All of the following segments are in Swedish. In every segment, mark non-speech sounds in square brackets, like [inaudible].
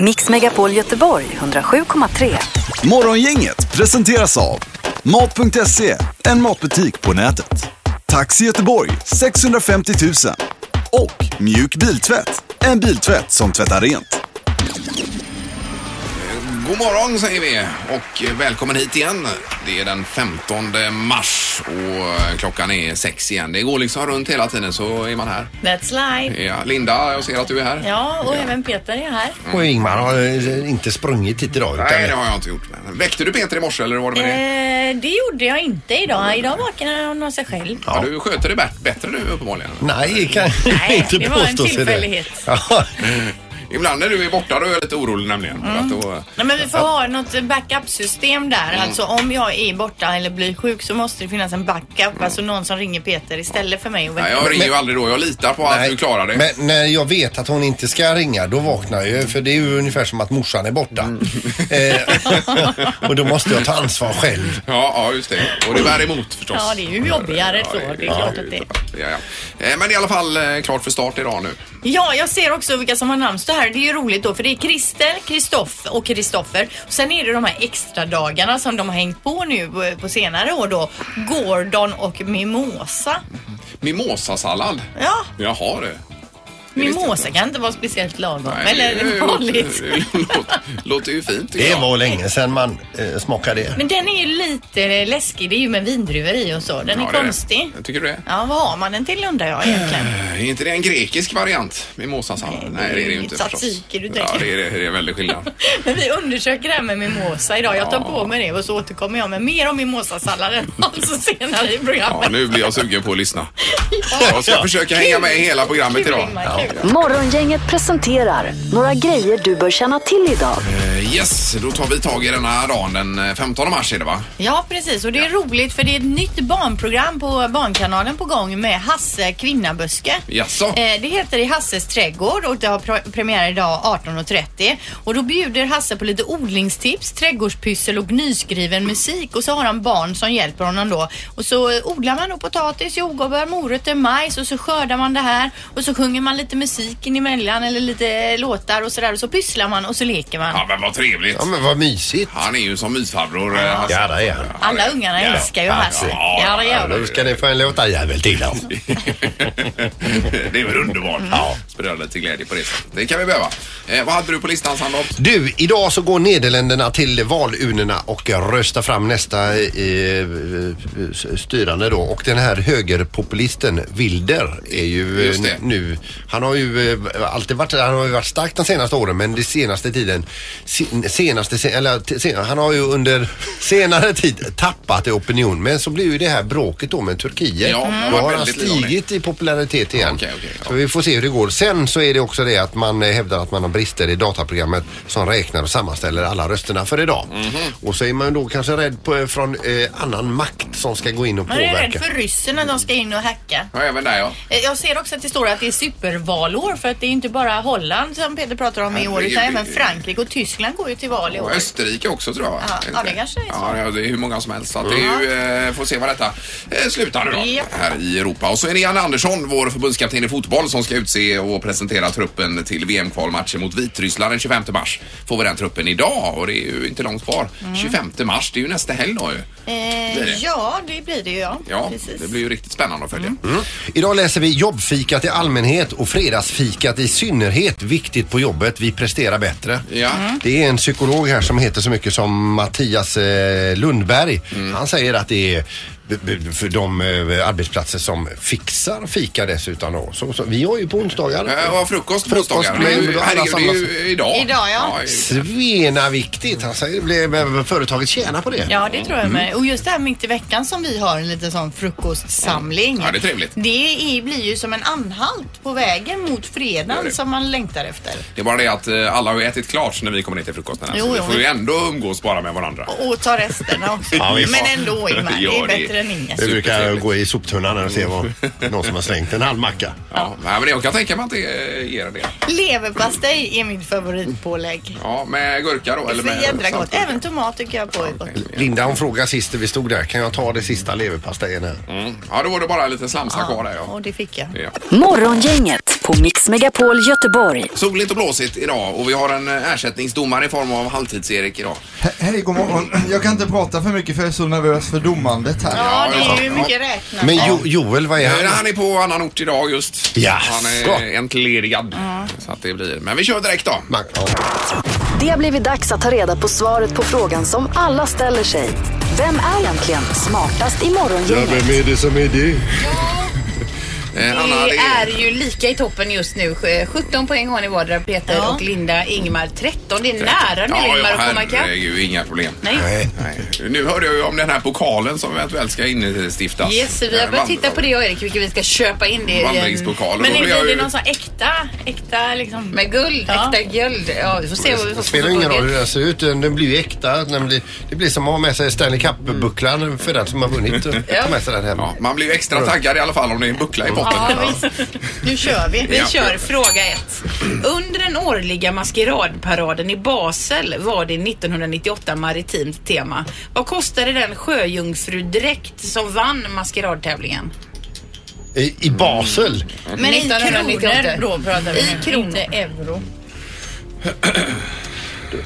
Mix Megapol Göteborg 107,3. Morgongänget presenteras av Mat.se, en matbutik på nätet. Taxi Göteborg 650 000. Och Mjuk Biltvätt, en biltvätt som tvättar rent. God morgon säger vi och välkommen hit igen. Det är den 15 mars och klockan är sex igen. Det går liksom runt hela tiden så är man här. That's life. Ja, Mm. Linda, jag ser att du är här. Ja, och även Peter är här. Och Ingmar har eh, inte sprungit hit idag. Utan Nej, det har jag inte gjort. Men Väckte du Peter i morse eller var det med det? Eh, det gjorde jag inte Mm. idag. Idag vaknade han av sig själv. Ja, du sköter det bä- bättre nu uppenbarligen. Nej, kan Nej, inte det var en påstå sig tillfällighet. Ja, [laughs] Ibland när du är borta då är jag lite orolig nämligen. För att då, Mm. Nej, men vi får ha något backup-system där. Mm. Alltså om jag är borta eller blir sjuk så måste det finnas en backup. Alltså någon som ringer Peter istället för mig. Och nej, Mm. jag ringer ju aldrig då. Jag litar på att nej. du klarar det. Men när jag vet att hon inte ska ringa, då vaknar jag ju, För det är ju ungefär som att morsan är borta. Mm. [laughs] Eh, och då måste jag ta ansvar själv. Ja, ja, just det. Och det bär emot förstås. Ja, det är ju jobbigare så. Det är klart att det är. Ja, ja. Eh, Men i alla fall eh, klart för start idag nu. Ja, jag ser också vilka som har namnsdag här. Det är ju roligt då för det är Christer, Kristoff och Kristoffer. Och sen är det de här extra dagarna som de har hängt på nu eh, på senare år då. Gordon och Mimosa. Mimosasallad. Ja, Jaha du. mimosa kan inte vara speciellt lagom. Nej, det- eller vanligt. det låter- Låter ju fint tycker Det jag. var länge sedan man eh, smakade det. Men den är ju lite eh, läskig. Det är ju med vindruvor i och så. Den Ja, det är Mm, är det. konstig. Tycker du det? Ja, vad har man den till undrar jag egentligen. Är inte det en grekisk variant? Mimosasallad? Nej, Nej, det är det ju det är inte tzatziki du Ja, tänker. det är, det är väldigt skillnad. [laughs] Men vi undersöker det här med mimosa idag. Jag tar Ja. på mig det och så återkommer jag med mer om mimosasalladen [laughs] alltså senare i Ja, programmet. nu blir jag sugen på att lyssna. Jag ska försöka hänga med i hela programmet Kul, idag. Ingmar, kul. Morgongänget presenterar några grejer du bör känna till idag. Eh, Yes, då tar vi tag i den här dagen den eh, 15 mars är det va? Ja, precis. Och det är roligt för det är ett nytt barnprogram på Barnkanalen på gång med Hasse Kvinnaböske. Jaså? Eh, Det heter I Hasses trädgård och det har pre- premiär idag 18.30. Och då bjuder Hasse på lite odlingstips, trädgårdspyssel och nyskriven musik. Och så har han barn som hjälper honom då. Och så eh, odlar man då potatis, jordgubbar, morötter, majs och så skördar man det här. Och så sjunger man lite musik in emellan eller lite eh, låtar och sådär. Och så pysslar man och så leker man. Ja, men vad trevligt. Ja, men vad mysigt. Han är ju som mysfarbror. eh, Hasse. Ja, det är han. Alla ungarna Ja. älskar ju Ja, Hasse. ja, Ja, det Ja, gör de. då ska ni få en låtarjävel till honom. [laughs] det är väl underbart. Mm. Ja. Sprida lite glädje på det sättet. Det kan vi behöva. Eh, vad hade du på listan Sandholt? Du, idag så går Nederländerna till valurnorna och röstar fram nästa eh, eh, styrande då. Och den här högerpopulisten Wilder är ju eh, Just det. nu, han har ju eh, alltid varit, han har ju varit stark de senaste åren men det senaste tiden, sen- senaste, se- eller t- sen- han har ju under [laughs] senare tid tappat i opinion. Men så blir ju det här bråket då med Turkiet. Ja, det har Då har varit han väldigt lång tid. stigit i popularitet igen. Okej, okej, ja. Så vi får se hur det går. Sen så är det också det att man eh, hävdar att man har brister i dataprogrammet som räknar och sammanställer alla rösterna för idag. Mhm. Och så är man då kanske rädd på, från eh, annan makt som ska gå in och Man är rädd påverka. för ryssen när de ska in och hacka. Ja, även där ja. Eh, Jag ser också att det står att det är supervalår för att det är inte bara Holland som Peter pratar om i år utan även Frankrike och Tyskland går ju till val i Och år. Österrike också tror jag. va? Ja, Är ja, det kanske är så. Ja, ja, det är hur många som helst. Så att det är ju, Mm. eh, får se vad detta eh, slutar nu då. Ja. Här i Europa. Och så är det Janne Andersson, vår förbundskapten i fotboll, som ska utse och presentera truppen till VM-kvalmatchen mot Vitryssland den 25 mars. Får vi den truppen idag och det är ju inte långt kvar. Mm. 25 mars, det är ju nästa helg då ju. blir det. Eh, ja, det blir det ju ja. Ja, Precis. det blir ju riktigt spännande att följa. Mm. Idag läser vi jobbfikat i allmänhet och fredagsfikat i synnerhet. Viktigt på jobbet. Vi presterar bättre. Ja. Det är en psykolog här som heter så mycket som Mattias eh, Lundberg. Mm. Han säger att det är b- b- för de eh, arbetsplatser som fixar fika dessutom. Då. Så, så, vi har ju på onsdagar. Eh, och frukost på Frukost, onsdagar. Det är ju- men alla herregud, det är samlas. ju idag. Idag, ja. i- Svena viktigt. Han säger, det blir- företaget tjänar på det. Ja, det tror Mm. jag med. Och just det här mitt i veckan som vi har en liten sån frukostsamling. Ja, det är trevligt. Det är, blir ju som en anhalt på vägen mot Det är fredagen det. som man längtar efter. Det är bara det att eh, alla har ju ätit klart när vi kommer ner till frukosten. här, Jo, så vi jo, får ju vi- ändå umgås bara med varandra. Och ta resterna också. [laughs] Ja, visst. Men ändå Ingmar, det [laughs] Ja, är bättre bättre än inget. Vi brukar Supertrevligt. gå i soptunnan och se vad någon som har slängt en halv macka. Ja, nej, men det- jag kan tänka mig att det eh, ger en del. Leverpastej är min favoritpålägg. Ja, med gurka då? Det är Eller så med jädra gott. saltgurka. Även tomat tycker jag på är gott. Linda hon frågade sist när vi stod där, kan jag ta det sista leverpastejen här? Mm. Ja, då var det bara lite slamsa kvar där ja. Och det fick jag. ja. Morgongänget på Mix Megapol Göteborg. Soligt och blåsigt idag och vi har en eh, ersättningsdomare i form av halvtids-Erik idag. He- Hej, god morgon. Jag kan inte prata för mycket för jag är så nervös för domandet här. Ja, det är ju ja. mycket räknat. Men jo, Joel, vad är Eh, han? Han är på annan ort idag just. Jaså. Han är entledigad. Så att det blir. Men vi kör direkt då. Man, ja. Det har blivit dags att ta reda på svaret på frågan som alla ställer sig. Vem är egentligen smartast i morgongänget? är det som är det? Eh, Anna, Ni det är är... ju lika i toppen just nu. 17 poäng har ni vardera Peter Ja. och Linda Ingmar 13. Det är nära nu Ingmar att komma ikapp. herregud, inga problem. Nej. Nej. Nu hörde jag ju om den här pokalen som eventuellt ska instiftas. Yes, vi har Eh, börjat vand- titta på det jag och Erik, vilket vi ska köpa in det eh, i en... Vandringspokal. Och Men då är blir jag det, det ju- är någon sån här äkta, äkta liksom. Med guld, Ja. äkta guld. Ja, vi får se vad vi får Det spelar ingen på det. roll hur den ser ut, den blir ju äkta. Den blir, det blir som att ha med sig Stanley Cup-bucklan för den som har vunnit. Ta med sig den hem. Ja, man blir ju extra taggad i alla fall om det är en buckla i botten. Ja, visst. Nu kör vi. Vi Ja. kör fråga ett. Under den årliga maskeradparaden i Basel var det 1998 maritimt tema. Vad kostade den sjöjungfrudräkt som vann maskeradtävlingen? I, I Basel? Mm. Men i 1998. kronor då pratar vi I nu, kronor. Inte euro.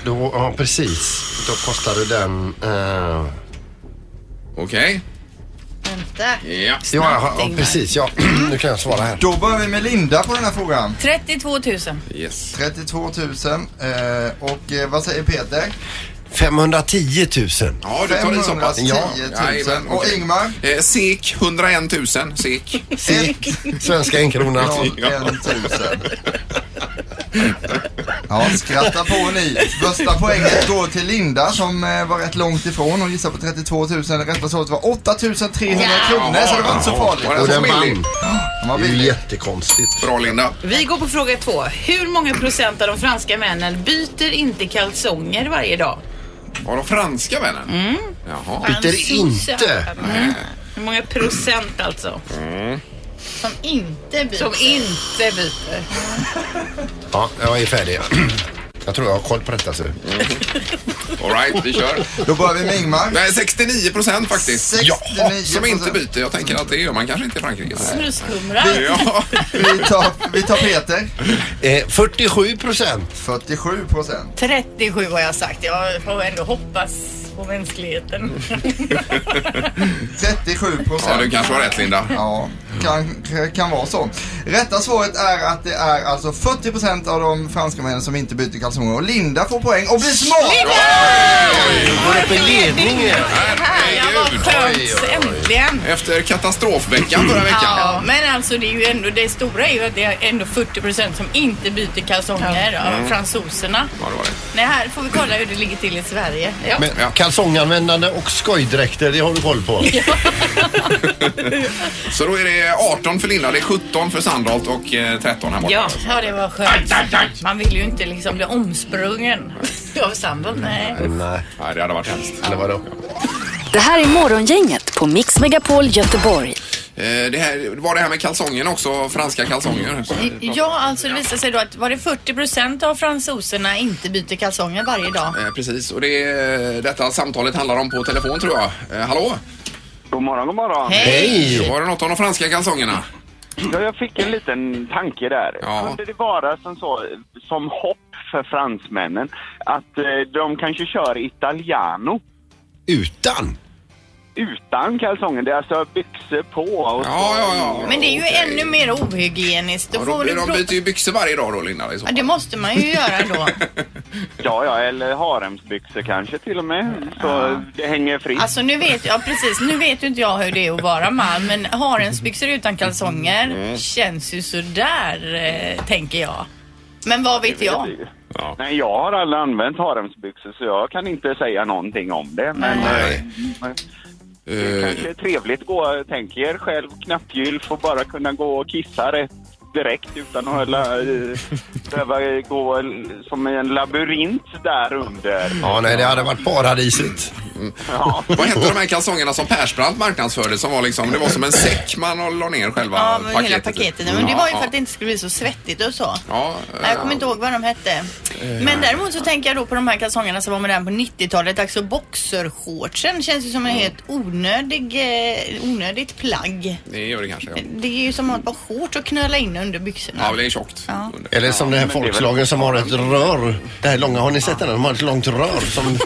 Då, ja, precis. Då kostade den... eh, Okej. Vänta. Ja. ja, ja, ja, Ingmar. precis. Ja. [clears throat] nu kan jag svara här. Då börjar vi med Linda på den här frågan. 32 000. Yes. 32 000. Eh, och eh, vad säger Peter? 510 000. Ja, du tar i så pass. 510 000. Jajamän, Och okej. Ingmar? Eh, SEK 101 000. SEK. SEK, svenska enkronan. 01 000. Ja, skratta på ni. Första poänget går till Linda som eh, var rätt långt ifrån. Hon gissade på 32 000. Rätta svaret var 8 300 kronor så det var inte så farligt. Var Och det så den billig? vann. Han var Det är ju billig. jättekonstigt. Bra Linda. Vi går på fråga två. Hur många procent av de franska männen byter inte kalsonger varje dag? Var de franska männen? Mm. Jaha. Alltså, Byter inte. Mm. Hur många procent alltså? Mm. Som inte byter. Som inte byter. Ja, jag är färdig. Jag tror jag har koll på detta. Så. All right, vi kör. Då börjar vi med Ingmar. Nej, 69 procent faktiskt. 69%. Ja, som inte byter. Jag tänker att det gör man kanske inte i Frankrike. Snuskhumrar. Ja. Vi tar, vi tar Peter. Eh, 47 procent. 47 procent. 37 har jag sagt. Jag får ändå hoppas på mänskligheten. 37 ja, du procent. kanske har rätt Linda. Ja, kan, kan vara så. Rätta svaret är att det är alltså 40 procent av de franska männen som inte byter kalsonger. Och Linda får poäng och blir smart! Går upp i ledningen. Ja, vad Herregud. skönt. Äntligen. Efter katastrofveckan förra Ja, veckan. men alltså det är ju ändå det stora är ju att det är ändå 40 procent som inte byter kalsonger av fransoserna. Mm. Ja, det var det. Nej, här får vi kolla hur det ligger till i Sverige. Ja. Men ja, kalsonganvändande och skojdräkter, det har du koll på. Så då är det 18 för Linda, det är 17 för Sandholt och eh, 13 här borta. Ja. Ja, det var skönt. Man vill ju inte liksom [laughs] bli omsprungen av sambon. Nej. Nej, Nej, det hade varit hemskt. eller vadå? Det här är morgongänget på Mix Megapol Göteborg. Eh, Det här, var det här med kalsongerna också, franska kalsonger. Ja, alltså det visar sig då att var det 40 procent av fransoserna inte byter kalsonger varje dag? Eh, Precis, och det är detta samtalet handlar om på telefon tror jag. Eh, Hallå? God morgon, god morgon. Hej! Var det något om de franska kalsongerna? Ja, jag fick en liten tanke där. Ja. Kunde det vara som, så, som hopp för fransmännen att eh, de kanske kör italiano Utan. utan kalsonger? Det är alltså byxor på. Och så. Ja, ja, ja. Men det är ju Okej. ännu mer ohygieniskt. Då Ja, får de, du de pro- byter ju byxor varje dag då Linda. liksom. i så ja, det fall. måste man ju [laughs] göra då. ja, ja, eller haremsbyxor kanske till och med. Så det hänger fritt. Alltså nu vet jag precis, nu vet ju inte jag hur det är att vara man men haremsbyxor utan kalsonger Mm. känns ju sådär eh, tänker jag. Men vad vet jag? Det- Ja. Nej, jag har aldrig använt haremsbyxor så jag kan inte säga någonting om det. Men Nej. eh, det Eh, kanske är trevligt att gå, tänk er själv, knappgyll, får bara kunna gå och kissa rätt direkt utan att hålla, [laughs] eh, behöva gå l- som i en labyrint där under. Ja, nej, det hade varit paradisigt. Ja. Vad hette de här kalsongerna som Persbrandt marknadsförde som var liksom, det var som en säck man la ner själva Ja, men paketet hela i. paketet. Men det var ju Ja, för att det inte skulle bli så svettigt och så. Ja, Nej, jag eh, kommer inte ihåg vad de hette. Men däremot så tänker jag då på de här kalsongerna som var moderna på 90-talet. Alltså boxershortsen känns ju som en helt onödig, eh, onödigt plagg. Det gör det kanske. Ja, Det är ju som att ha ett par shorts och knöla in under byxorna. ja det är tjockt. Ja. Under. Eller som den här men det är väl- folkslagen som har ett rör. Det här långa, har ni sett den? De har ett långt rör [laughs] som...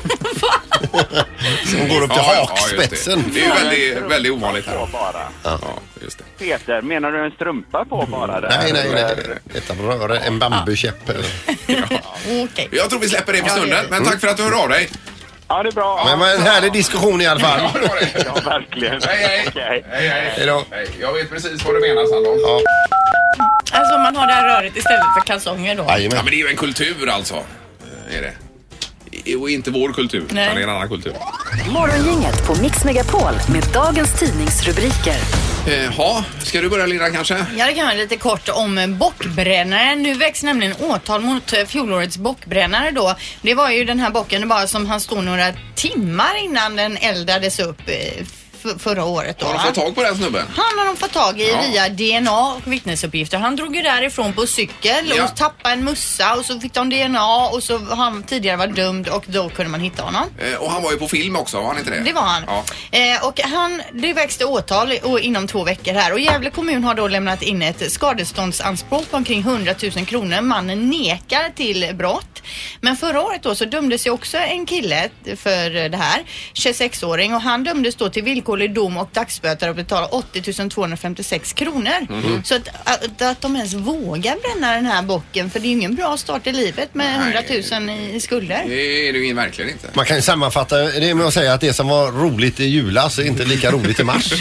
som går upp till Ja, ja, hakspetsen. just det. det är ju väldigt, väldigt ovanligt På här. bara. Ja, just det. Peter, menar du en strumpa på bara? Där? Nej, nej, Eller- nej. Ett rör, en bambukäpp. eller- Okej. Jag tror vi släpper det för Ja, det gör stunden, vi. men tack för att du hör av dig. Ja, det är bra. Men det var en härlig diskussion i alla fall. det var det. Ja, verkligen. Hej, hej. Okej. Hej, hej. Hej då. Hej. Jag vet precis vad du menar Sandholm. Ja. Alltså man har det här röret istället för kalsonger då. Jajamän. men det är ju en kultur alltså. Eh, Är det. I- Och inte vår kultur, utan det Nej. är en annan kultur. Morgongänget på Mix Megapol med dagens tidningsrubriker. Eh, Ja, ska du börja Linda kanske? Ja, det kan vara lite kort om bockbrännaren. Nu väcks nämligen åtal mot eh, fjolårets bockbrännare då. Det var ju den här bocken bara som han stod några timmar innan den eldades upp eh, f- förra året då. Har de va? fått tag på den snubben? Han har de fått tag i Ja. via DNA och vittnesuppgifter. Han drog ju därifrån på cykel Ja. och tappade en mussa och så fick de DNA och så har han tidigare var dömd och då kunde man hitta honom. Eh, Och han var ju på film också, var han inte det? Det var han. Ja. Eh, och han, det växte åtal i- och inom två veckor här och Gävle kommun har då lämnat in ett skadeståndsanspråk på omkring 100 000 kronor. Mannen nekar till brott. Men förra året då så dömdes ju också en kille för eh, det här, 26-åring och han dömdes då till villkorlig dom och dagsböter och betala 80 256 kronor. Mhm. Så att, att, att de ens vågar bränna den här bocken för det är ju ingen bra start i livet med Nej. 100 000 i i skulder. Det är det ju verkligen inte. Man kan ju sammanfatta det med att säga att det som var roligt i julas är inte lika roligt i mars.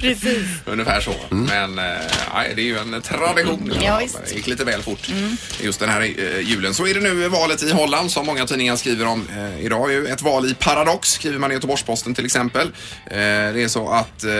Precis. [laughs] Ungefär så. Mm. Men eh, nej, det är ju en tradition. Ja, visst. Det gick lite väl fort Mm. just den här eh, julen. Så är det nu valet i Holland som många tidningar skriver om eh, idag. Ju. Ett val i paradox skriver man i Göteborgs-Posten till exempel. Eh, det är så att eh,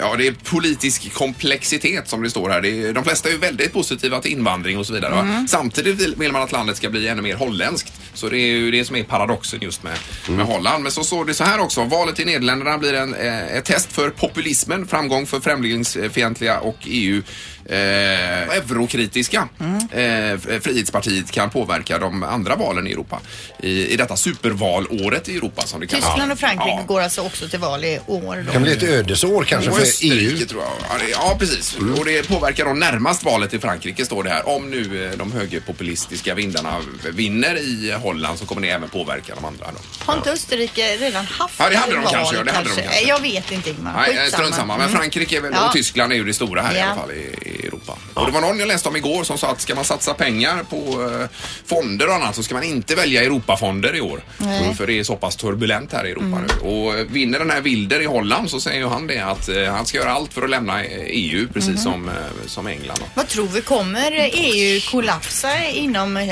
ja, det är politisk komplexitet som det står här. Det är, de flesta är ju väldigt positiva till invandring och så vidare. Va? Samtidigt vill, vill man att landet ska bli ännu mer holländskt. Så det är ju det som är paradoxen just med, med Holland. Men så står det så här också. Valet i Nederländerna blir en, eh, ett test för populismen, framgång för främlingsfientliga och E EU eh, eurokritiska. Mm. Eh, Frihetspartiet kan påverka de andra valen i Europa. I, i detta supervalåret i Europa som det kallas. Tyskland och Frankrike Ja. går alltså också till val i år. Det Då. kan bli ett ödesår kanske Och för E EU. Österrike tror jag. Ja, det- Ja, precis. Och det påverkar då närmast valet i Frankrike står det här. Om nu eh, de högerpopulistiska vindarna vinner i Holland så kommer det även påverka de andra. Då. Har inte Österrike redan haft Ja, det hade de val kanske, ja, det hade de kanske. Jag vet inte Ingmar. Nej, eh, Skitsamma. strunt samma. Men Mm. Frankrike är väl, Ja. och Tyskland är ju det stora här i Ja. alla fall i, i Europa. Och det var någon jag läste om igår som sa att ska man satsa pengar på eh, fonder och annat så ska man inte välja Europafonder i år. Nej. Mm. För det är så pass turbulent här i Europa nu. Och eh, vinner den här Wilder i Holland så säger ju han det att eh, han ska göra allt för att lämna eh, EU precis Mhm. som, eh, som England. Då. Vad tror vi, kommer EU kollapsa inom eh,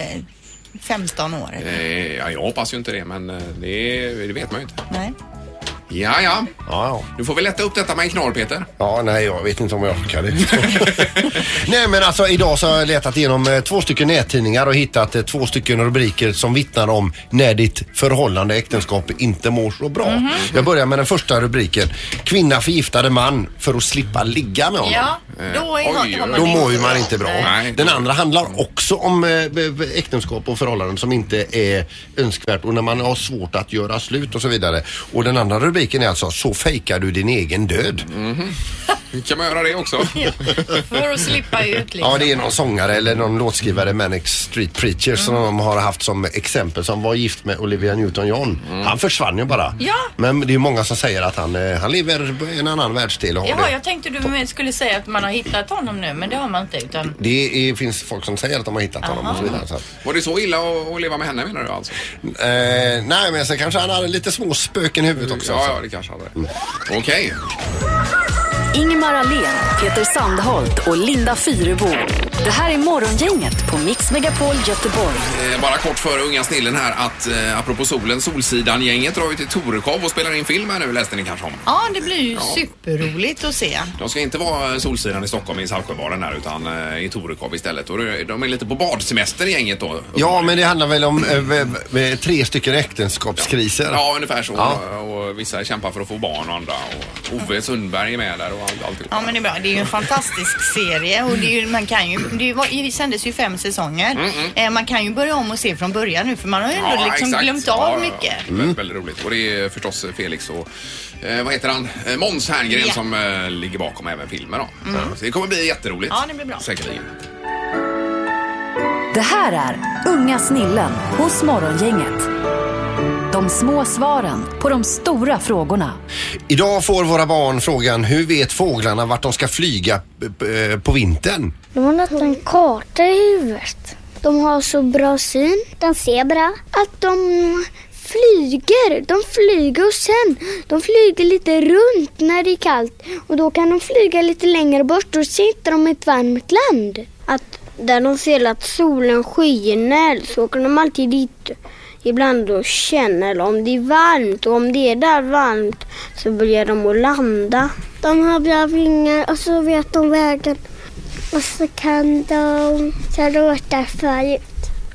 15 år? eller? Eh, Ja, jag hoppas ju inte det, men eh, det, det vet man ju inte. Nej. Ja, ja. Ja, Nu får vi lätta upp detta med en knorr, Peter. Ja, nej, jag vet inte om jag orkar det. nej, men alltså idag så har jag letat igenom eh, två stycken nättidningar och hittat eh, två stycken rubriker som vittnar om när ditt förhållande äktenskap inte mår så bra. Jag börjar med den första rubriken. Kvinna förgiftade man för att slippa ligga med honom. Ja, Eh, då, är, oj, har man Då det mår ju man inte bra. Nej. Nej. Den andra handlar också om eh, b- b- äktenskap och förhållanden som inte är önskvärt och när man har svårt att göra slut och så vidare. Och den andra rubriken är alltså Så fejkar du din egen död. Mm-hmm. Kan man göra det [laughs] också? För att slippa ut liksom. Ja, det är någon sångare eller någon låtskrivare, Manic Street Preacher, som de har haft som exempel, som var gift med Olivia Newton-John. Han försvann ju bara. Ja. Men det är många som säger att han, eh, han lever i en annan världsdel och har Jaha, det. jag tänkte du med- skulle säga att man har hittat honom nu, men det har man inte. Utan... Det är, finns folk som säger att de har hittat honom och så vidare. Så. att- Var det så illa att, att leva med henne menar du alltså? Eh, nej, men sen kanske han hade lite små spöken i huvudet också. Mm. Ja, så. ja, det kanske hade det. Okej. Ingemar Ahlén, Peter Sandholt och Linda Fyrebo. Det här är Morgongänget på Mix Megapol Göteborg. Eh, Bara kort före unga snillen här att eh, apropå solen, Solsidan-gänget drar ju till Torekov och spelar in film här nu läste ni kanske om. Ja, det blir ju superroligt att se. De ska inte vara eh, Solsidan i Stockholm i Saltsjöbaden här utan eh, i Torekov istället. Och det- de är lite på badsemester i gänget då. Ja, men det handlar väl om eh, v- v- tre stycken äktenskapskriser. Ja, ungefär så. Ja. Och, och vissa kämpar för att få barn och andra. Och Ove Sundberg är med där och allt, alltihop. Ja men det är bra. Det är ju [laughs] en fantastisk serie och det, är ju, man kan ju, det, var, det sändes ju fem säsonger. Eh, man kan ju börja om och se från början nu för man har ju ändå liksom exakt. glömt Mm, Ja, av ja, ja. mycket. Väldigt, Mm. väldigt roligt. Och det är förstås Felix och eh, vad heter han? Eh, Måns Herngren Ja. Mm. som eh, ligger bakom även filmen då. Så det kommer bli jätteroligt. Ja, det blir bra. Säkerligen. Det här är Unga snillen hos Morgongänget. De små svaren på de stora frågorna. Idag får våra barn frågan hur vet fåglarna vart de ska flyga eh, på vintern? De har nästan en karta i huvudet. De har så bra syn, den zebra, att de flyger. De flyger och sen, de flyger lite runt när det är kallt och då kan de flyga lite längre bort och så hittar de ett varmt land. Att där de ser att solen skiner så åker de alltid dit ibland och känner om det är varmt och om det är där varmt så börjar de att landa. De har bra vingar och så vet de vägen. Och så kan de råta förut.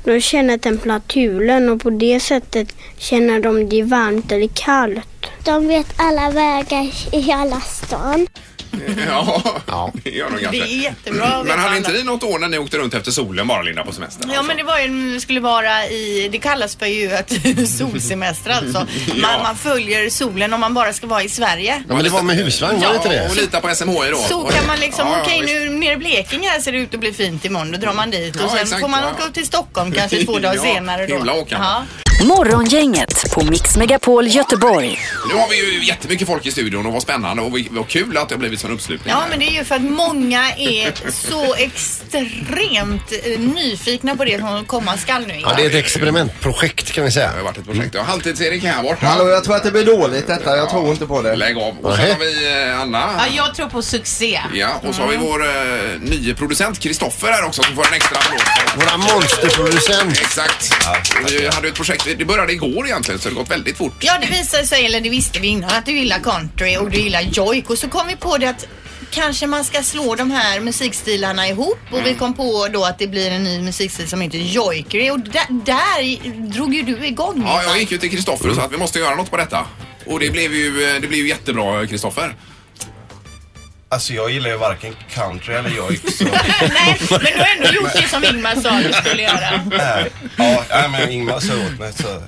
De känner temperaturen och på det sättet känner de om det är varmt eller kallt. De vet alla vägar i alla stan. [laughs] Ja, det gör de Mm. Det är kanske. jättebra att Men veta hade alla. inte ni något år när ni åkte runt efter solen bara Linda på semestern? Ja men det var ju, det skulle vara i, det kallas för ju att [laughs] solsemester alltså. Man, [laughs] Ja. man följer solen om man bara ska vara i Sverige. Ja, men det var med husvagn, var det inte och det? lita på SMHI då. Så kan man liksom, Ja, ja, okej visst. nu nere i Blekinge här ser det ut att bli fint imorgon, då drar man dit och Ja, sen exakt, får man ja. åka upp till Stockholm kanske två dagar [laughs] Ja, senare då. himla åkande. Morgongänget på Mix Megapol Göteborg. Nu har vi ju jättemycket folk i studion och vad spännande och vi- vad kul att det har blivit sån uppslutning. Ja, här. men det är ju för att många är så extremt eh, nyfikna på det som komma skall nu. Ja, det är ett experimentprojekt kan vi säga. Det har varit ett projekt. Ja, Halvtids-Erik är här borta. Hallå, jag tror att det blir dåligt detta. Jag tror inte på det. Lägg av. Och sen Nej. har vi eh, Anna. jag tror på succé. Mm. Ja, och så har vi Mm. vår eh, nye producent Kristoffer här också som får en extra applåd. Våra monsterproducent. Exakt. Vi hade ett projekt, det började igår egentligen så det har gått väldigt fort. Ja, det visade sig, eller det visste vi innan, att du gillar country och du gillar jojk och så kom vi på det att Kanske man ska slå de här musikstilarna ihop och Mm. vi kom på då att det blir en ny musikstil som heter jojkeri och där, där i- drog ju du igång. Ja, jag Linda. gick ju till Kristoffer och sa att vi måste göra något på detta. Och det blev ju, eh, det blev ju jättebra Kristoffer. Alltså jag gillar ju varken country eller [laughs] jojk så... Nej, men du har ändå gjort det som Ingmar sa du skulle göra. Nej. ja, nej, men Ingmar sa åt mig så... Mm.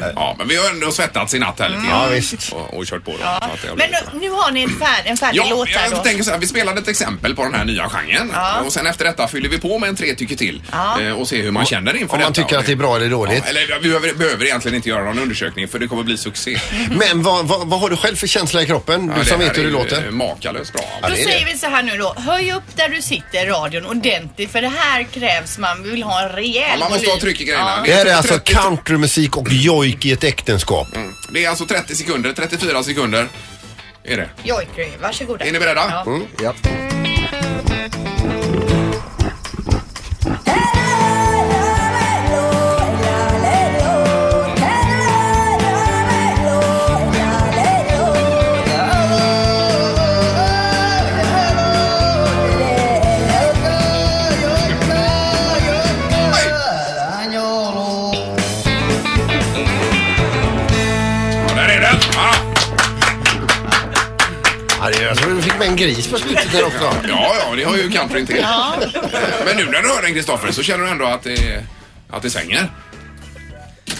Nej. Ja, men vi har ändå svettats i natt här lite Ja, grann. visst. Och, och kört på då. Så att det har Men blivit bra. nu, nu har ni en, färd, en färdig Ja, låt här då. jag tänker så här, vi spelade ett exempel på den här nya genren och sen efter detta fyller vi på med en tre tycker till Ja. eh, och ser hur man känner inför Om man detta. tycker att det är bra eller Ja, dåligt. eller vi behöver, behöver egentligen inte göra någon undersökning för det kommer bli [laughs] succé. Mm. Men vad, vad, vad har du själv för känsla i kroppen? Ja, Du som här vet hur det är ju, eh, låter. Makalöst bra. Ja, Då det är det. säger vi så här nu då. Höj upp där du sitter radion ordentligt för det här krävs man. Vi vill ha en rejäl Ja, man måste volym. ha tryck i grejerna. Det här är 30 alltså countrymusik och jojk i ett äktenskap. Det är alltså 30 sekunder, 34 sekunder. Är det. Jojkeri, varsågoda. Är ni beredda? Mm. Ja. Mm, Ja. Ja, Där är den! Ah. Ja, Ja, det är- Jag tror du fick med en gris på slutet där också. [laughs] ja, ja det har ju countryn till. Eh, Men nu när du hör den Kristoffer så känner du ändå att det, att det svänger?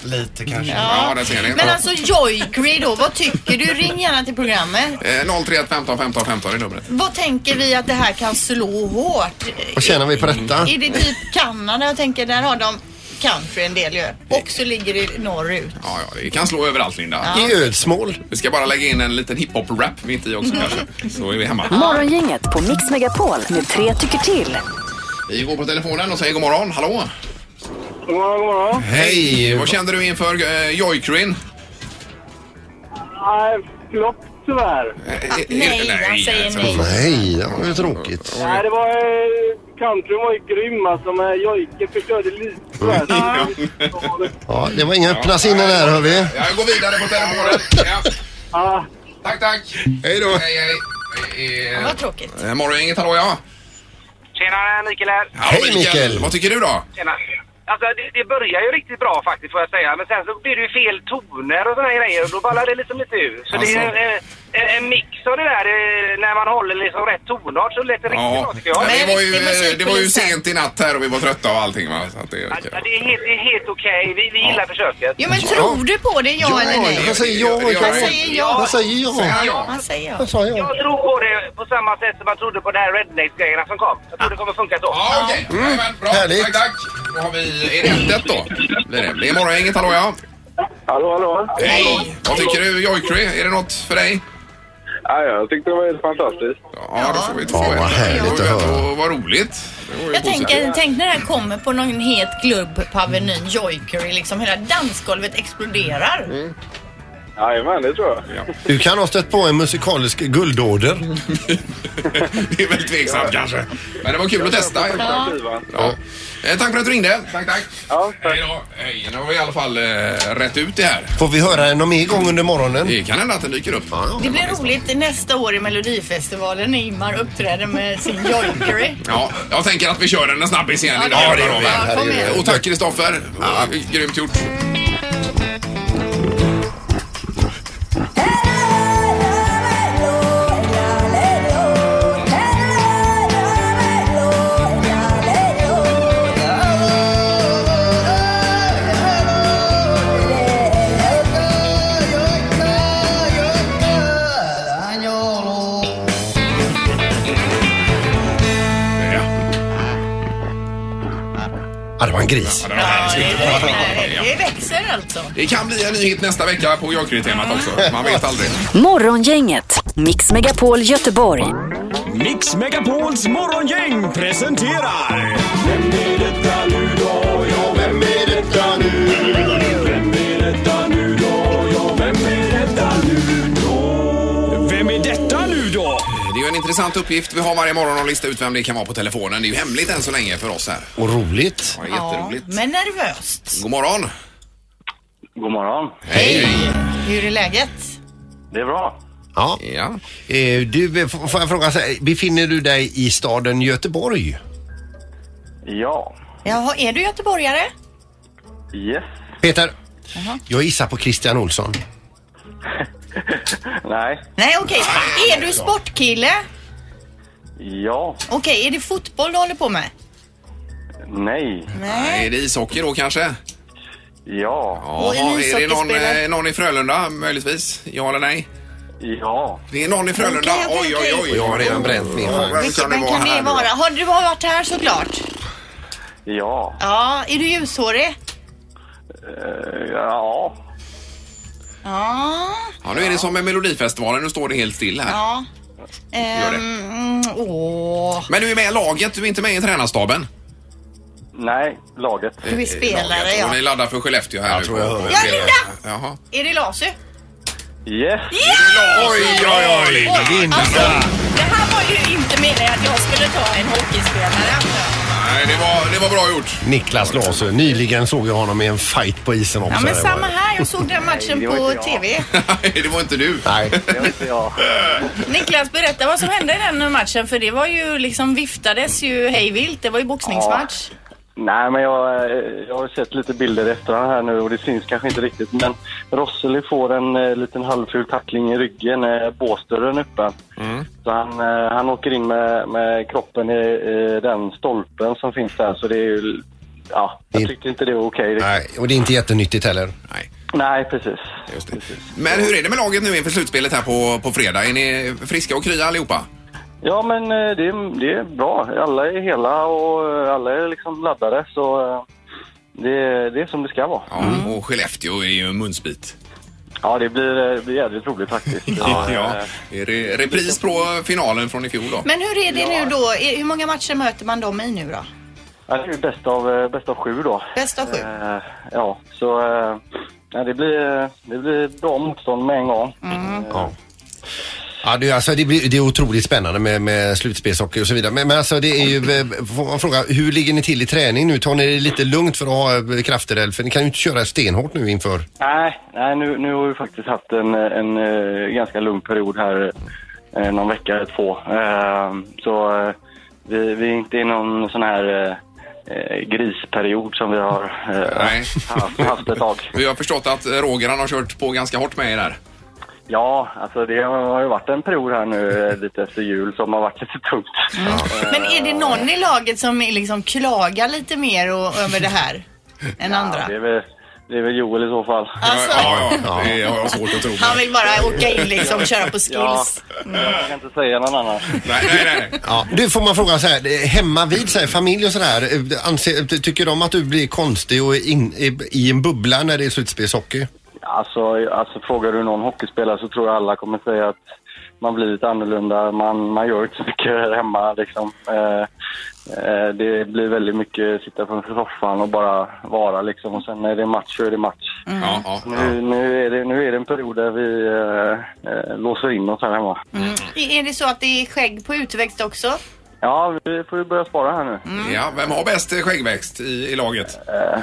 Lite kanske. Ja, den ser ni. Men alltså jojkeri då, vad tycker du? Ring gärna till programmet. Eh, 031 15 15 15 är numret. Vad tänker vi att det här kan slå hårt? Vad tjänar vi på detta? Är det typ Kanada? Jag tänker där har de country en del ju. Och så ligger det norrut. Ja, ja, det kan slå överallt Linda. I Ödsmål. Vi ska bara lägga in en liten hiphop-rap mitt i också kanske. Så är vi hemma. Morgongänget på Mix Megapol med tre tycker till. Vi går på telefonen och säger god morgon. Hallå! God morgon, god morgon. Hej! Vad kände du inför eh, jojkrin? Nej, flopp tyvärr. Eh, eh, eh, nej, alltså. han säger nej. Nej, det var ju tråkigt. Nej, det var eh, Countryn var ju grym alltså, men Jojke förstörde lite. Mm. sådär. Ja, det var inga öppna sinnen där hör vi. Jag går vidare på telefonen. Ja. Ja. Tack, tack. Hej då. Hej, hej. Det är- Vad tråkigt. Eh, Morgongänget, hallå ja. Tjenare, Mikael här. Hallå, Hej, Mikael. Vad tycker du då? Tjena. Alltså det, det börjar ju riktigt bra faktiskt får jag säga. Men sen så blir det ju fel toner och såna här grejer och då ballar det liksom lite ur. Så det är Alltså. en, en, en mix av det där eh, när man håller liksom rätt tonart så lät det riktigt bra tycker jag. men det, var ju, Riktig eh, det var ju musikpolisen. sent i natt här och vi var trötta och allting va. Så att det, Ja, ja, det är helt, det är helt okej. Vi, vi gillar försöket. Jo men tror du på det, ja, eller nej? Han säger ja. Det gör Vad Han säger ja. Han säger ja. Ja, ja. Han säger ja. Han sa ja. Jag tror på det på samma sätt som man trodde på de här rednecks-grejerna som kom. Jag tror det kommer funka så. Ja, okej. Jajamän, Bra, Mm. Härligt. tack, tack. Då har vi, är det eldet då? Blir det. Det är Morgongänget, hallå ja. Hallå, hallå. Hej. Vad tycker du Jojkry? Är det något för dig? Ja, jag tyckte det var helt fantastiskt. Ja, då får vi två. Ja, vad härligt att höra. Och vad roligt. Det var ju Jag positivt. tänker, tänk när det här kommer på någon het klubb på Avenyn Joikery liksom. Hela dansgolvet exploderar. Mm. Jajamän, det tror jag. Du kan ha stött på en musikalisk guldåder. [laughs] Det är väl tveksamt kanske. Men det var kul att testa. Ja. Eh, Tack för att du ringde. Tack, tack. Ja, tack. Hej då. Hej, nu har vi i alla fall eh, rätt ut det här. Får vi höra den någon mer gång under morgonen? Det kan hända att den dyker upp. Det blir roligt nästa år i Melodifestivalen när Ingmar uppträder med sin Joikery. Ja, jag tänker att vi kör den en snabbis igen idag. Ja, det gör Ja, kom igen. Och tack Kristoffer. Ja. Grymt gjort. Ja. Ja, det var en gris. det var härligt. Det växer alltså. Det kan bli en ny hit nästa vecka på Jojkry-temat Ah. också. Man vet aldrig. Morgongänget, Mix Megapol Göteborg. Mix Megapols morgongäng presenterar... Vem är detta nu då? Ja, vem är detta nu? Vem är detta nu då? Ja, vem är detta nu då? Vem är detta nu då? Det är ju en intressant uppgift vi har varje morgon att lista ut vem det kan vara på telefonen. Det är ju hemligt än så länge för oss här. Och roligt. Ja, det är Ja, jätteroligt. men nervöst. God morgon. God morgon. Hej. Hur är läget? Det är bra. Ja. Ja. Eh, Du, eh, f- får jag fråga, så här, befinner du dig i staden Göteborg? Ja. Jaha, är du göteborgare? Yes. Peter, jag gissar på Christian Olsson. [laughs] Nej. Nej, okej. Är du sportkille? Ja. Okej, är det fotboll du håller på med? Nej. Nej. Är det ishockey då kanske? Ja. Och en Jaha, är det någon, ishockeyspelare? eh, någon i Frölunda möjligtvis? Ja eller nej? Ja. Det är någon i Frölunda. Okej, okej, oj, oj, oj. okej. Jag har redan bränt min. Vem Vilken vem kan det här nu då? vara? Har du varit här såklart? Ja. Ja, är du ljushårig? Eh, Ja. Ja. Ja, nu är det som med Melodifestivalen. Nu står det helt still här. Ja. det. Ehm, mm, åh. Men du är med i laget. Du är inte med i tränarstaben. Eh, Nej. Laget. Du är spelare, Laget. Och ja. ni laddar för Skellefteå här nu. tror jag hör det. Ja, Linda! Jaha. Är det Lasu? Yes. Oj, oj, oj. Oj, Linda. Alltså, det här var ju inte meningen att jag skulle ta en hockeyspelare. Nej, det var, det var bra gjort. Niklas Lasu, nyligen såg jag honom i en fight på isen också. Ja, men Det var- samma här. Jag såg den matchen det var inte på jag. TV. Nej, det var inte du. [laughs] Nej. Det var inte jag. Niklas, berätta vad som hände i den matchen. För det var ju liksom viftades ju hej vilt. Det var ju boxningsmatch. Nej, men jag, eh, jag har sett lite bilder efter den här nu och det syns kanske inte riktigt. Men Rosseli får en eh, liten halvful tackling i ryggen när båsdörren är öppen. Mm. Så han, eh, han åker in med, med kroppen i, i den stolpen som finns där. Så det är ju... Ja, jag tyckte inte det var okej. riktigt. Nej, och det är inte jättenyttigt heller. Nej, Nej, precis. just det. Men hur är det med laget nu inför slutspelet här på, på fredag? Är ni friska och krya allihopa? Ja, men eh, det, är- det är bra. Alla är hela och eh, alla är liksom laddade. Så eh, det, det är som det ska vara. Mm. Ja, och Skellefteå är ju en munsbit. Ja, det blir, eh, det blir jävligt roligt [laughs] faktiskt. Eh, Är det repris på finalen från i fjol då? Men hur är det nu då? Är- Hur många matcher möter man dem i nu då? Ja, det är ju bäst av, eh, bäst av sju då. Bäst av sju. Eh, ja, så Mm. eh, ja, det, blir, det blir bra motstånd med en gång. Ja. Ja, det, är- alltså, det, blir, det är otroligt spännande med, med slutspelshockey och så vidare. Men, men alltså det är ju, eh, får man fråga, hur ligger ni till i träning nu? Tar ni det lite lugnt för att ha eh, krafter? eller- För ni kan ju inte köra stenhårt nu inför. Nej, nej nu, nu har vi faktiskt haft en, en, eh, ganska lugn period här, eh, någon vecka eller två. Eh, så eh, vi, vi är inte i någon sån här eh, eh, grisperiod som vi har eh, haft, haft ett tag. Vi har förstått att Roger han har kört på ganska hårt med er där. Ja, alltså det har ju varit en period här nu eh, lite efter jul som har varit lite tungt. Men är det någon i laget som är liksom klagar lite mer och, över det här än andra? Alltså. Det är väl, det är väl Joel i så fall. Ja, ja, det har jag svårt att tro. Han vill bara åka in liksom och köra på skills. Mm. Jag kan inte säga någon annan. Nej, nej, nej. Ja. Du får man fråga så här, eh, hemma vid så här, familj och sådär, eh, anser, tycker de att du blir konstig och in, i, i en bubbla när det är slutspelshockey? Alltså, alltså frågar du någon hockeyspelare så tror jag alla kommer säga att man blir lite annorlunda. Man, man gör inte så mycket här hemma liksom. Eh, eh, det blir väldigt mycket sitta framför soffan och bara vara liksom. Och sen när det är match så är det match. Ja, ja, Nu, nu, är, det, nu är det en period där vi eh, eh, låser in oss här hemma. Är det så att det är skägg på utväxt också? Ja, vi får ju börja spara här nu. ja. Vem har bäst eh, skäggväxt i, i laget? Eh,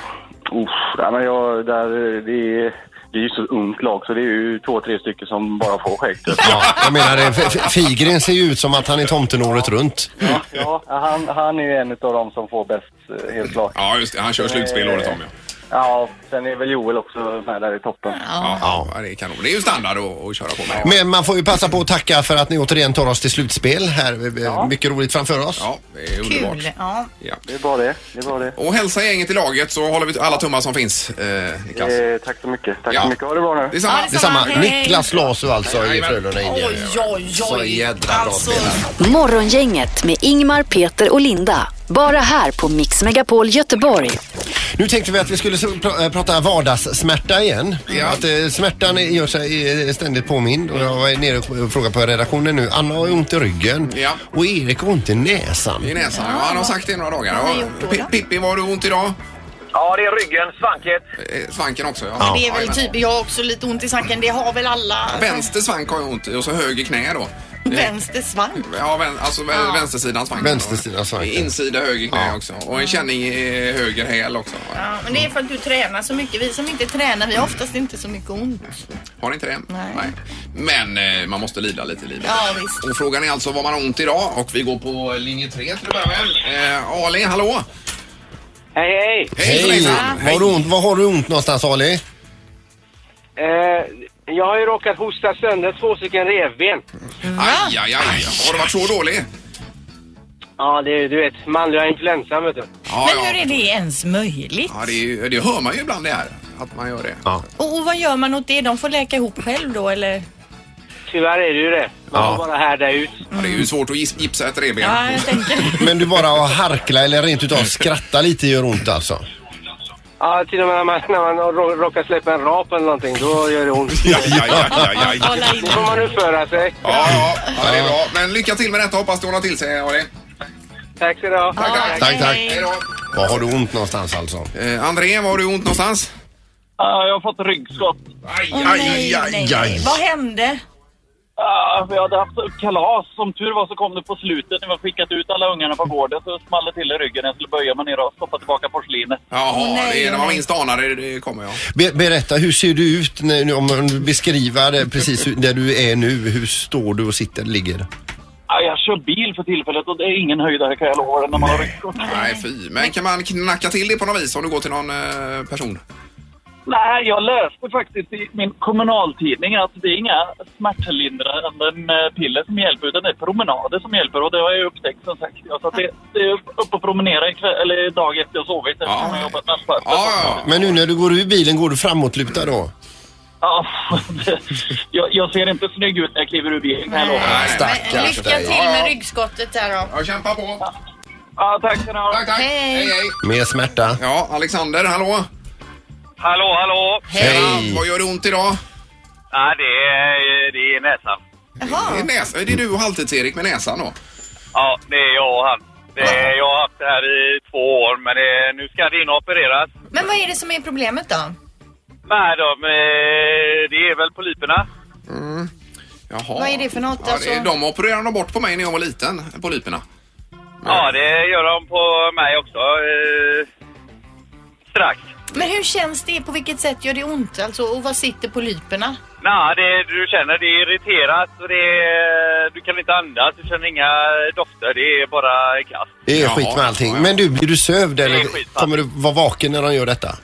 Uff, nej, men jag, där, det, är, det är ju så ungt lag så det är ju två, tre stycken som bara får skägg. typ. Ja, jag menar det, F- F- Figren ser ju ut som att han är tomten året runt. Ja, ja han, han är ju en av dem som får bäst, eh, helt klart. Eh, Ja, just det. Han kör slutspel året om, ja. Ja, sen är väl Joel också med där i toppen. Ja, ja, det är kanon. Det är ju standard att, att köra på med. Men man får ju passa på att tacka för att ni återigen tar oss till slutspel här. Ja. Mycket roligt framför oss. Ja, det är underbart. Kul. Ja. Ja. Det är bara det. det, är bara det. Och hälsa gänget i laget så håller vi alla tummar som finns, eh, Niklas. Eh, tack så mycket. Tack Ja. så mycket. Ha det bra nu. Detsamma. Ja, detsamma. Detsamma, Hej, hej. Niklas Lasu alltså i Jajamän. Frölunda Indier. Oj, oj, Alltså, Så oj. jädra bra spelare. Morgongänget med Ingmar, Peter och Linda. Bara här på Mix Megapol Göteborg. Nu tänkte vi att vi skulle så- pra- eh, prata vardagssmärta igen. Att eh, smärtan är- gör sig eh, ständigt påmind. Och jag var nere och frågade på redaktionen nu. Anna har ju ont i ryggen. Ja. Och Erik har ont i näsan. I näsan. Ja, han har sagt det i några dagar. Vad har Ja, han gjort då, Pi- då? Pippi, vad har du ont idag? Ja, det är ryggen, svanket. Eh, Svanken också, ja. Det är väl Jajamän. typ, jag har också lite ont i svanken. Det har väl alla. Vänster svank har jag ont i och så höger knä då. Det- Vänster svank. Ja, vän, alltså vä- vänstersidan svanken. Vänstersidan svanken. Insida höger knä också. Och en känning i höger häl också. Ja, men det är för att du tränar så mycket. Vi som inte tränar, vi har oftast inte så mycket ont. Har ni inte det? Nej. Men eh, man måste lida lite i livet. Ja, visst. Och frågan är alltså vad man har ont idag och vi går på linje 3 till att börja med. Eh, Ali, hallå! Hej, hej! så Hej! länge. Var, du ont, var har du ont någonstans Ali? Eh, jag har ju råkat hosta sönder två stycken revben. Mm. Aj, aj, aj. Har du varit så dålig? Ja, det är du vet, manliga influensan vet du. Ja, Men ja. hur är det ens möjligt? Ja, det, är ju, det hör man ju ibland det här. Att man gör det. Och, och vad gör man åt det? De får läka ihop själv då eller? Tyvärr är det ju det. Man Ja. får bara härda ut. Ja, det är ju svårt att gis- gipsa ett revben. Ja, jag tänker Men du bara att harkla eller rent utav skratta lite gör ont alltså? Ja, till och med när man, när man rå- råkar släppa en rap eller någonting, då gör det ont. [laughs] [laughs] Ja, ja, ja, ja, ja, ja. hålla in. Då får man uppföra sig. Ja, ja, ja, det är bra. Men lycka till med detta. Hoppas du ordnar till sig, Ali. Tack ska du ha. Ja, Tack, tack. hej. Hej då. Var har du ont någonstans alltså? Eh, André, var har du ont någonstans? Ja, jag har fått ryggskott. Aj, Åh, nej, nej, nej. Vad hände? Ja, vi hade haft kalas. Som tur var så kom det på slutet när vi skickat ut alla ungarna på gården så small det till i ryggen. Jag skulle böja mig ner och stoppa tillbaka porslinet. Jaha, Åh, nej, det är när man nej. minst anar det, det kommer jag. Be- berätta, hur ser du ut? När, nu- om du beskriver det precis hur- där du är nu. Hur står du och sitter, ligger? Ja, jag kör bil för tillfället och det är ingen höjdare kan jag lova när man har ryggskott. Nej, fy. Men kan man knacka till det på något vis om du går till någon eh, person? Nej, jag läste faktiskt i min kommunaltidning att det är inga smärtlindrande eh, piller som hjälper utan det är promenader som hjälper och det har jag ju upptäckt som sagt. Ja, Så att det, det är upp- upp och promenera ikväll, eller dag efter jag sovit eftersom jag har jobbat natt. Ja, ja. Men nu när du går ur bilen, går du framåtlutad då? Ja, [laughs] jag, jag ser inte snygg ut när jag kliver ur bilen kan jag lova. Nej, nej. Men, Stackars lycka dig. till Ja, ja. med ryggskottet där då. Ja, kämpa på. Ja, tack ska ni ha. Tack, tack. Hej. Hej, hej. Mer smärta? Ja, Alexander, hallå. Hallå, hallå! Hej! Vad gör det ont idag? Ja, det är, det är näsan. Det är, näs- det är du och Halvtids-Erik med näsan då? Ja, det är jag och han. Det är, jag har haft det här i två år, men det, nu ska det in och opereras. Men vad är det som är problemet då? Nej, de, eh, det är väl polyperna. Mm. Jaha. Vad är det för något? Ja, det, Alltså- de opererade de bort på mig när jag var liten, polyperna. Ja, det gör de på mig också. Eh, strax. Men hur känns det? På vilket sätt gör det ont? Alltså, och vad sitter polyperna? Nej, det du känner det är irriterat och det är, du kan inte andas, du känner inga dofter, det är bara kast. Det är skit med allting. Men du, blir du sövd Det eller är skit med kommer du vara vaken när de gör [laughs] detta?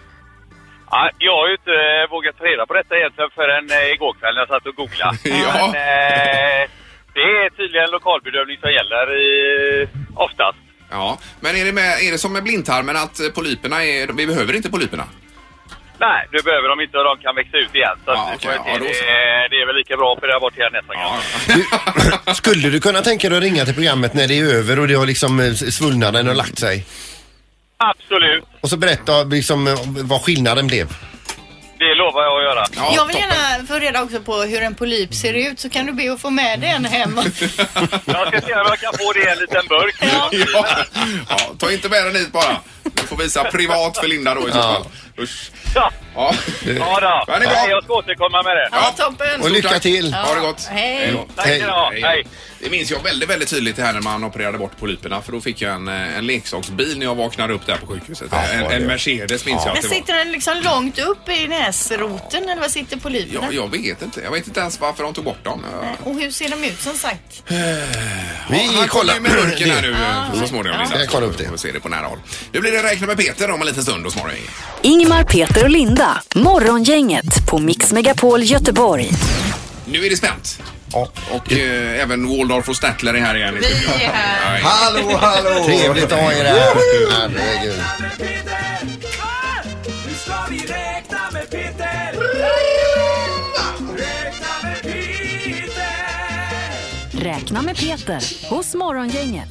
Ja, jag har ju inte eh, vågat ta reda på detta egentligen förrän eh, igår kväll när jag satt och [laughs] googlade. Men, eh, det är tydligen lokalbedövning som gäller i, oftast. Ja, men är det, med, är det som med blindtarmen att eh, polyperna är... Vi behöver inte polyperna? Nej, nu behöver de inte och de kan växa ut igen. Så att vi får se. det, är- det är väl lika bra att operera bort hela näsan kanske. Skulle du kunna tänka dig att ringa till programmet när det är över och det har liksom eh, svullnaden och lagt sig? Absolut, Och så berätta liksom eh, vad skillnaden blev. det lovar jag att göra. jag vill gärna få reda också på hur en polyp ser ut så kan du be att få med dig en hem. Jag ska se om jag kan få det i en liten burk. Ja. ja, [laughs] ta inte med den hit bara. Du får visa privat för Linda då i så fall. Usch. Ja. Ja. Ja, då. Ja, det är bra. Nej, Jag ska återkomma med det. Ja, toppen. Stort tack. Ha det Ja, gott. Hej. då. Tack ska ni ha. Hej. Det minns jag väldigt, väldigt tydligt det här när man opererade bort polyperna för då fick jag en, eh, en leksaksbil när jag vaknade upp där på sjukhuset. en, en Mercedes minns jag Men att det var. sitter den liksom långt upp i näsroten eller vad sitter polyperna? Ja, jag vet inte. Jag vet inte ens varför de tog bort dem. Ja, Och hur ser de ut som sagt? han kommer ju med burken här nu [laughs] Ja. eh, så småningom. Linda. Jag kollar upp det. Vi får se det på nära håll. Nu blir det räkna med Peter om en liten stund hos morgon. Ingemar, Peter och Linda. Morgongänget på Mix Megapol Göteborg. Nu är det spänt. Och eh, även Waldorf och Statler är här igen. Vi är här. Nej. Hallå, hallå! Trevligt att ha er här. Herregud. Nu ska vi räkna med Peter! Räkna med Peter! Räkna med Peter hos Morgongänget.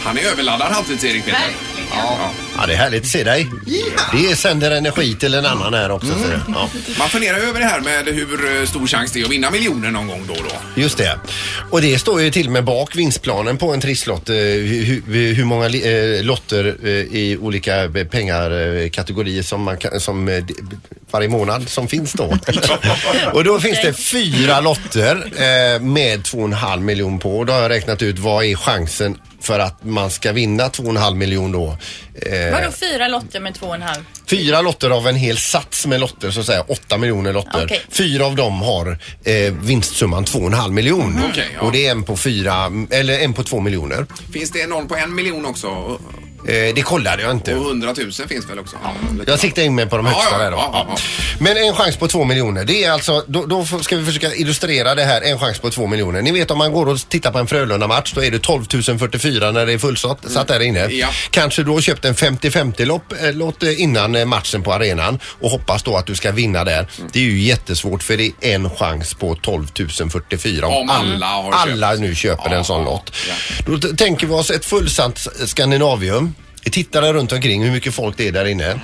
Han är överladdad halvtids-Erik Peter. Ja. Ja, det är härligt att se dig. Det sänder energi till en annan här också. ser du. Ja. Man funderar ju över det här med hur eh, stor chans det är att vinna miljoner någon gång då och då. Just det. Och det står ju till med bak vinstplanen på en trisslott. eh, Hur, hur, hur många li- eh, lotter eh, i olika eh, pengarkategorier som, man kan, som eh, d- varje månad som finns då. och då finns det fyra lotter eh, med 2,5 miljon på. Och då har jag räknat ut vad är chansen för att man ska vinna 2,5 miljon då. Eh, Vadå fyra lotter med två och en halv? Fyra lotter av en hel sats med lotter, så att säga. Åtta miljoner lotter. Okej. Fyra av dem har eh, vinstsumman 2,5 miljon. Okej, ja. Och det är en på fyra, eller en på två miljoner. Finns det någon på en miljon också? Och Eh, det kollade jag inte. och hundratusen finns väl också? Lite- Jag siktar in mig på de högsta Ja, ja, där då. ja, ja, ja. Men en chans på två miljoner. Det är alltså, då, då f- ska vi försöka illustrera det här, en chans på två miljoner. Ni vet om man går och tittar på en Frölunda-match, då är det 12 044 när det är fullsatt satt där inne. Mm. Ja. Kanske du har köpt en 50-50-lopp eh, låt, eh, innan eh, matchen på arenan och hoppas då att du ska vinna där. Mm. Det är ju jättesvårt för det är en chans på 12 044 Om alla har köpt. alla nu köper en sån lott. ja. Då t- tänker vi oss ett fullsatt S- Skandinavium. Vi tittar där runt omkring hur mycket folk det är där inne.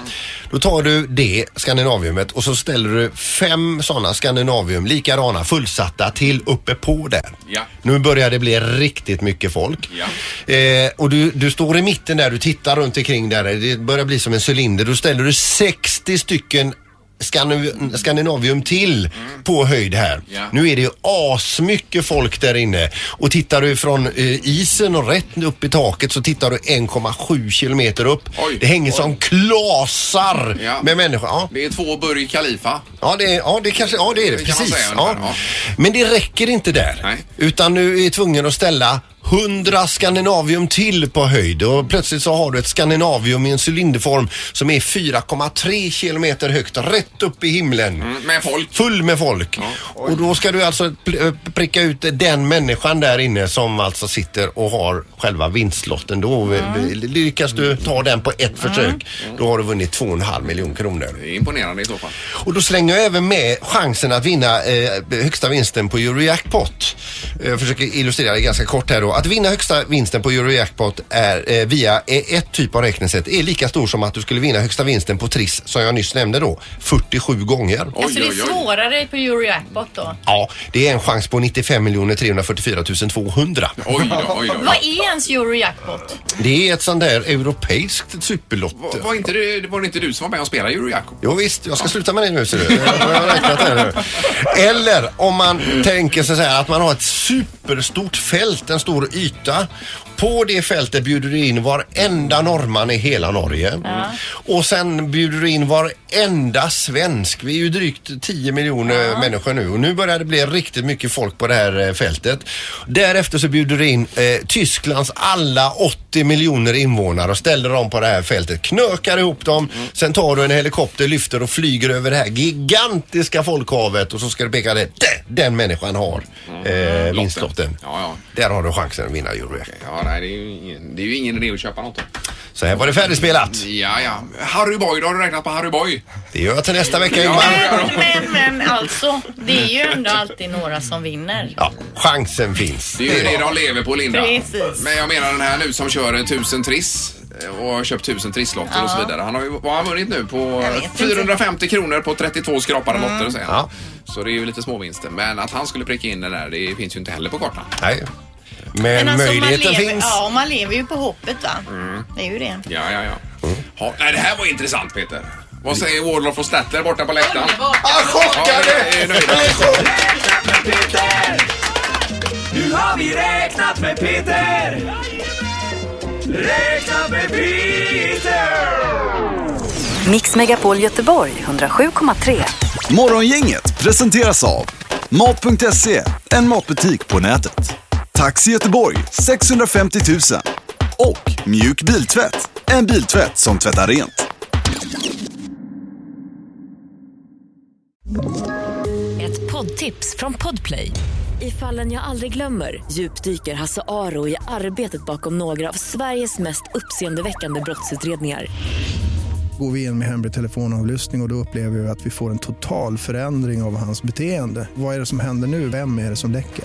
Då tar du det Skandinaviumet och så ställer du fem sådana Skandinavium, likadana, fullsatta till uppe på där. Ja. Nu börjar det bli riktigt mycket folk. Ja. Eh, och du, du står i mitten där, du tittar runt omkring där, det börjar bli som en cylinder. Då ställer du 60 stycken Skandinav- Skandinavium till på höjd här. Ja. Nu är det ju asmycket folk där inne. Och tittar du från eh, isen och rätt upp i taket så tittar du 1,7 kilometer upp. Oj. det hänger Oj. som klasar Ja. med människor. Ja. Det är två Burj Khalifa. Ja det, är- ja, det kanske, ja det är det. Det kan man Precis. säga ja. ungefär, ja. Men det räcker inte där. Nej. Utan nu är jag tvungen att ställa 100 Skandinavium till på höjd och plötsligt så har du ett Skandinavium i en cylinderform som är 4,3 kilometer högt rätt upp i himlen. Mm, Med folk. Full med folk. Och då ska du alltså pl- pricka ut den människan där inne som alltså sitter och har själva vinstlotten. Då eh, Mm. lyckas du ta den på ett försök. Då har du vunnit 2,5 miljoner kronor. Det är imponerande i så fall. Och då slänger jag även med chansen att vinna eh, högsta vinsten på Eurojackpot. Jag försöker Eh, illustrera det ganska kort här då. Att Att vinna högsta vinsten på Eurojackpot är, eh, via e- ett typ av räknesätt är lika stor som att du skulle vinna högsta vinsten på Triss som jag nyss nämnde då, 47 gånger. alltså det är svårare på Eurojackpot då. Ja, det är en chans på 95 344 200. Oj då, oj Vad är ens Eurojackpot? Det är ett sånt där europeiskt superlott. Var inte det, var det inte du som var med och spelade Eurojackpot? Jo, visst, jag ska sluta med det nu ser du. Jag har räknat det här nu. Eller om man tänker sig så här att man har ett superstort fält, en stor yta. På det fältet bjuder du in varenda norrman i hela Norge. Och sen bjuder du in varenda svensk. Vi är ju drygt 10 miljoner människor nu och nu börjar det bli riktigt mycket folk på det här eh, fältet. Därefter så bjuder du in eh, Tysklands alla 80 miljoner invånare och ställer dem på det här fältet. Knökar ihop dem, sen tar du en helikopter, lyfter och flyger över det här gigantiska folkhavet och så ska du peka det. "Där, Den människan har Mm. eh, vinstlotten. Där har du chansen att vinna Eurojackpot. Ja, nej, det är, ju ingen, det är ju ingen idé att köpa något. Så här var det färdigspelat. Ja, ja. Harry Boy, då har du räknat på Harry Boy. Det gör jag till nästa vecka Ja, Ingmar. ja, ja. Men, men alltså, det är ju ändå alltid några som vinner. Ja, chansen finns. Det är ju det de lever på Linda. Precis. Men jag menar den här nu som kör en tusen triss eh, och har köpt tusen trisslotter Ja. och så vidare. Han har ju, vad har han vunnit nu? På vet inte. 450 kronor på 32 skrapade Mm. lotter säger han. Så det är ju lite småvinster. Men att han skulle pricka in den där, det finns ju inte heller på kartan. Nej. Men, Eh, alltså, man lever, Ja, och man lever ju på hoppet va. Mm. Det är ju det. Ja, ja, ja. Ha, nej, det här var intressant Peter. Vad säger Wardloff och Statler borta på läktaren? Ah, chockade! Ja, vi är nöjda. Nu har vi räknat med Peter! Räknat med Peter! Mix Megapol Göteborg 107,3. Morgongänget presenteras av Mat.se, en matbutik på nätet. Taxi Göteborg 650 000 och Mjuk Biltvätt, en biltvätt som tvättar rent. Ett poddtips från Podplay. I fallen jag aldrig glömmer djupdyker Hasse Aro i arbetet bakom några av Sveriges mest uppseendeväckande brottsutredningar. Går vi in med hemlig telefonavlyssning och, och då upplever vi att vi får en total förändring av hans beteende. Vad är det som händer nu? Vem är det som läcker?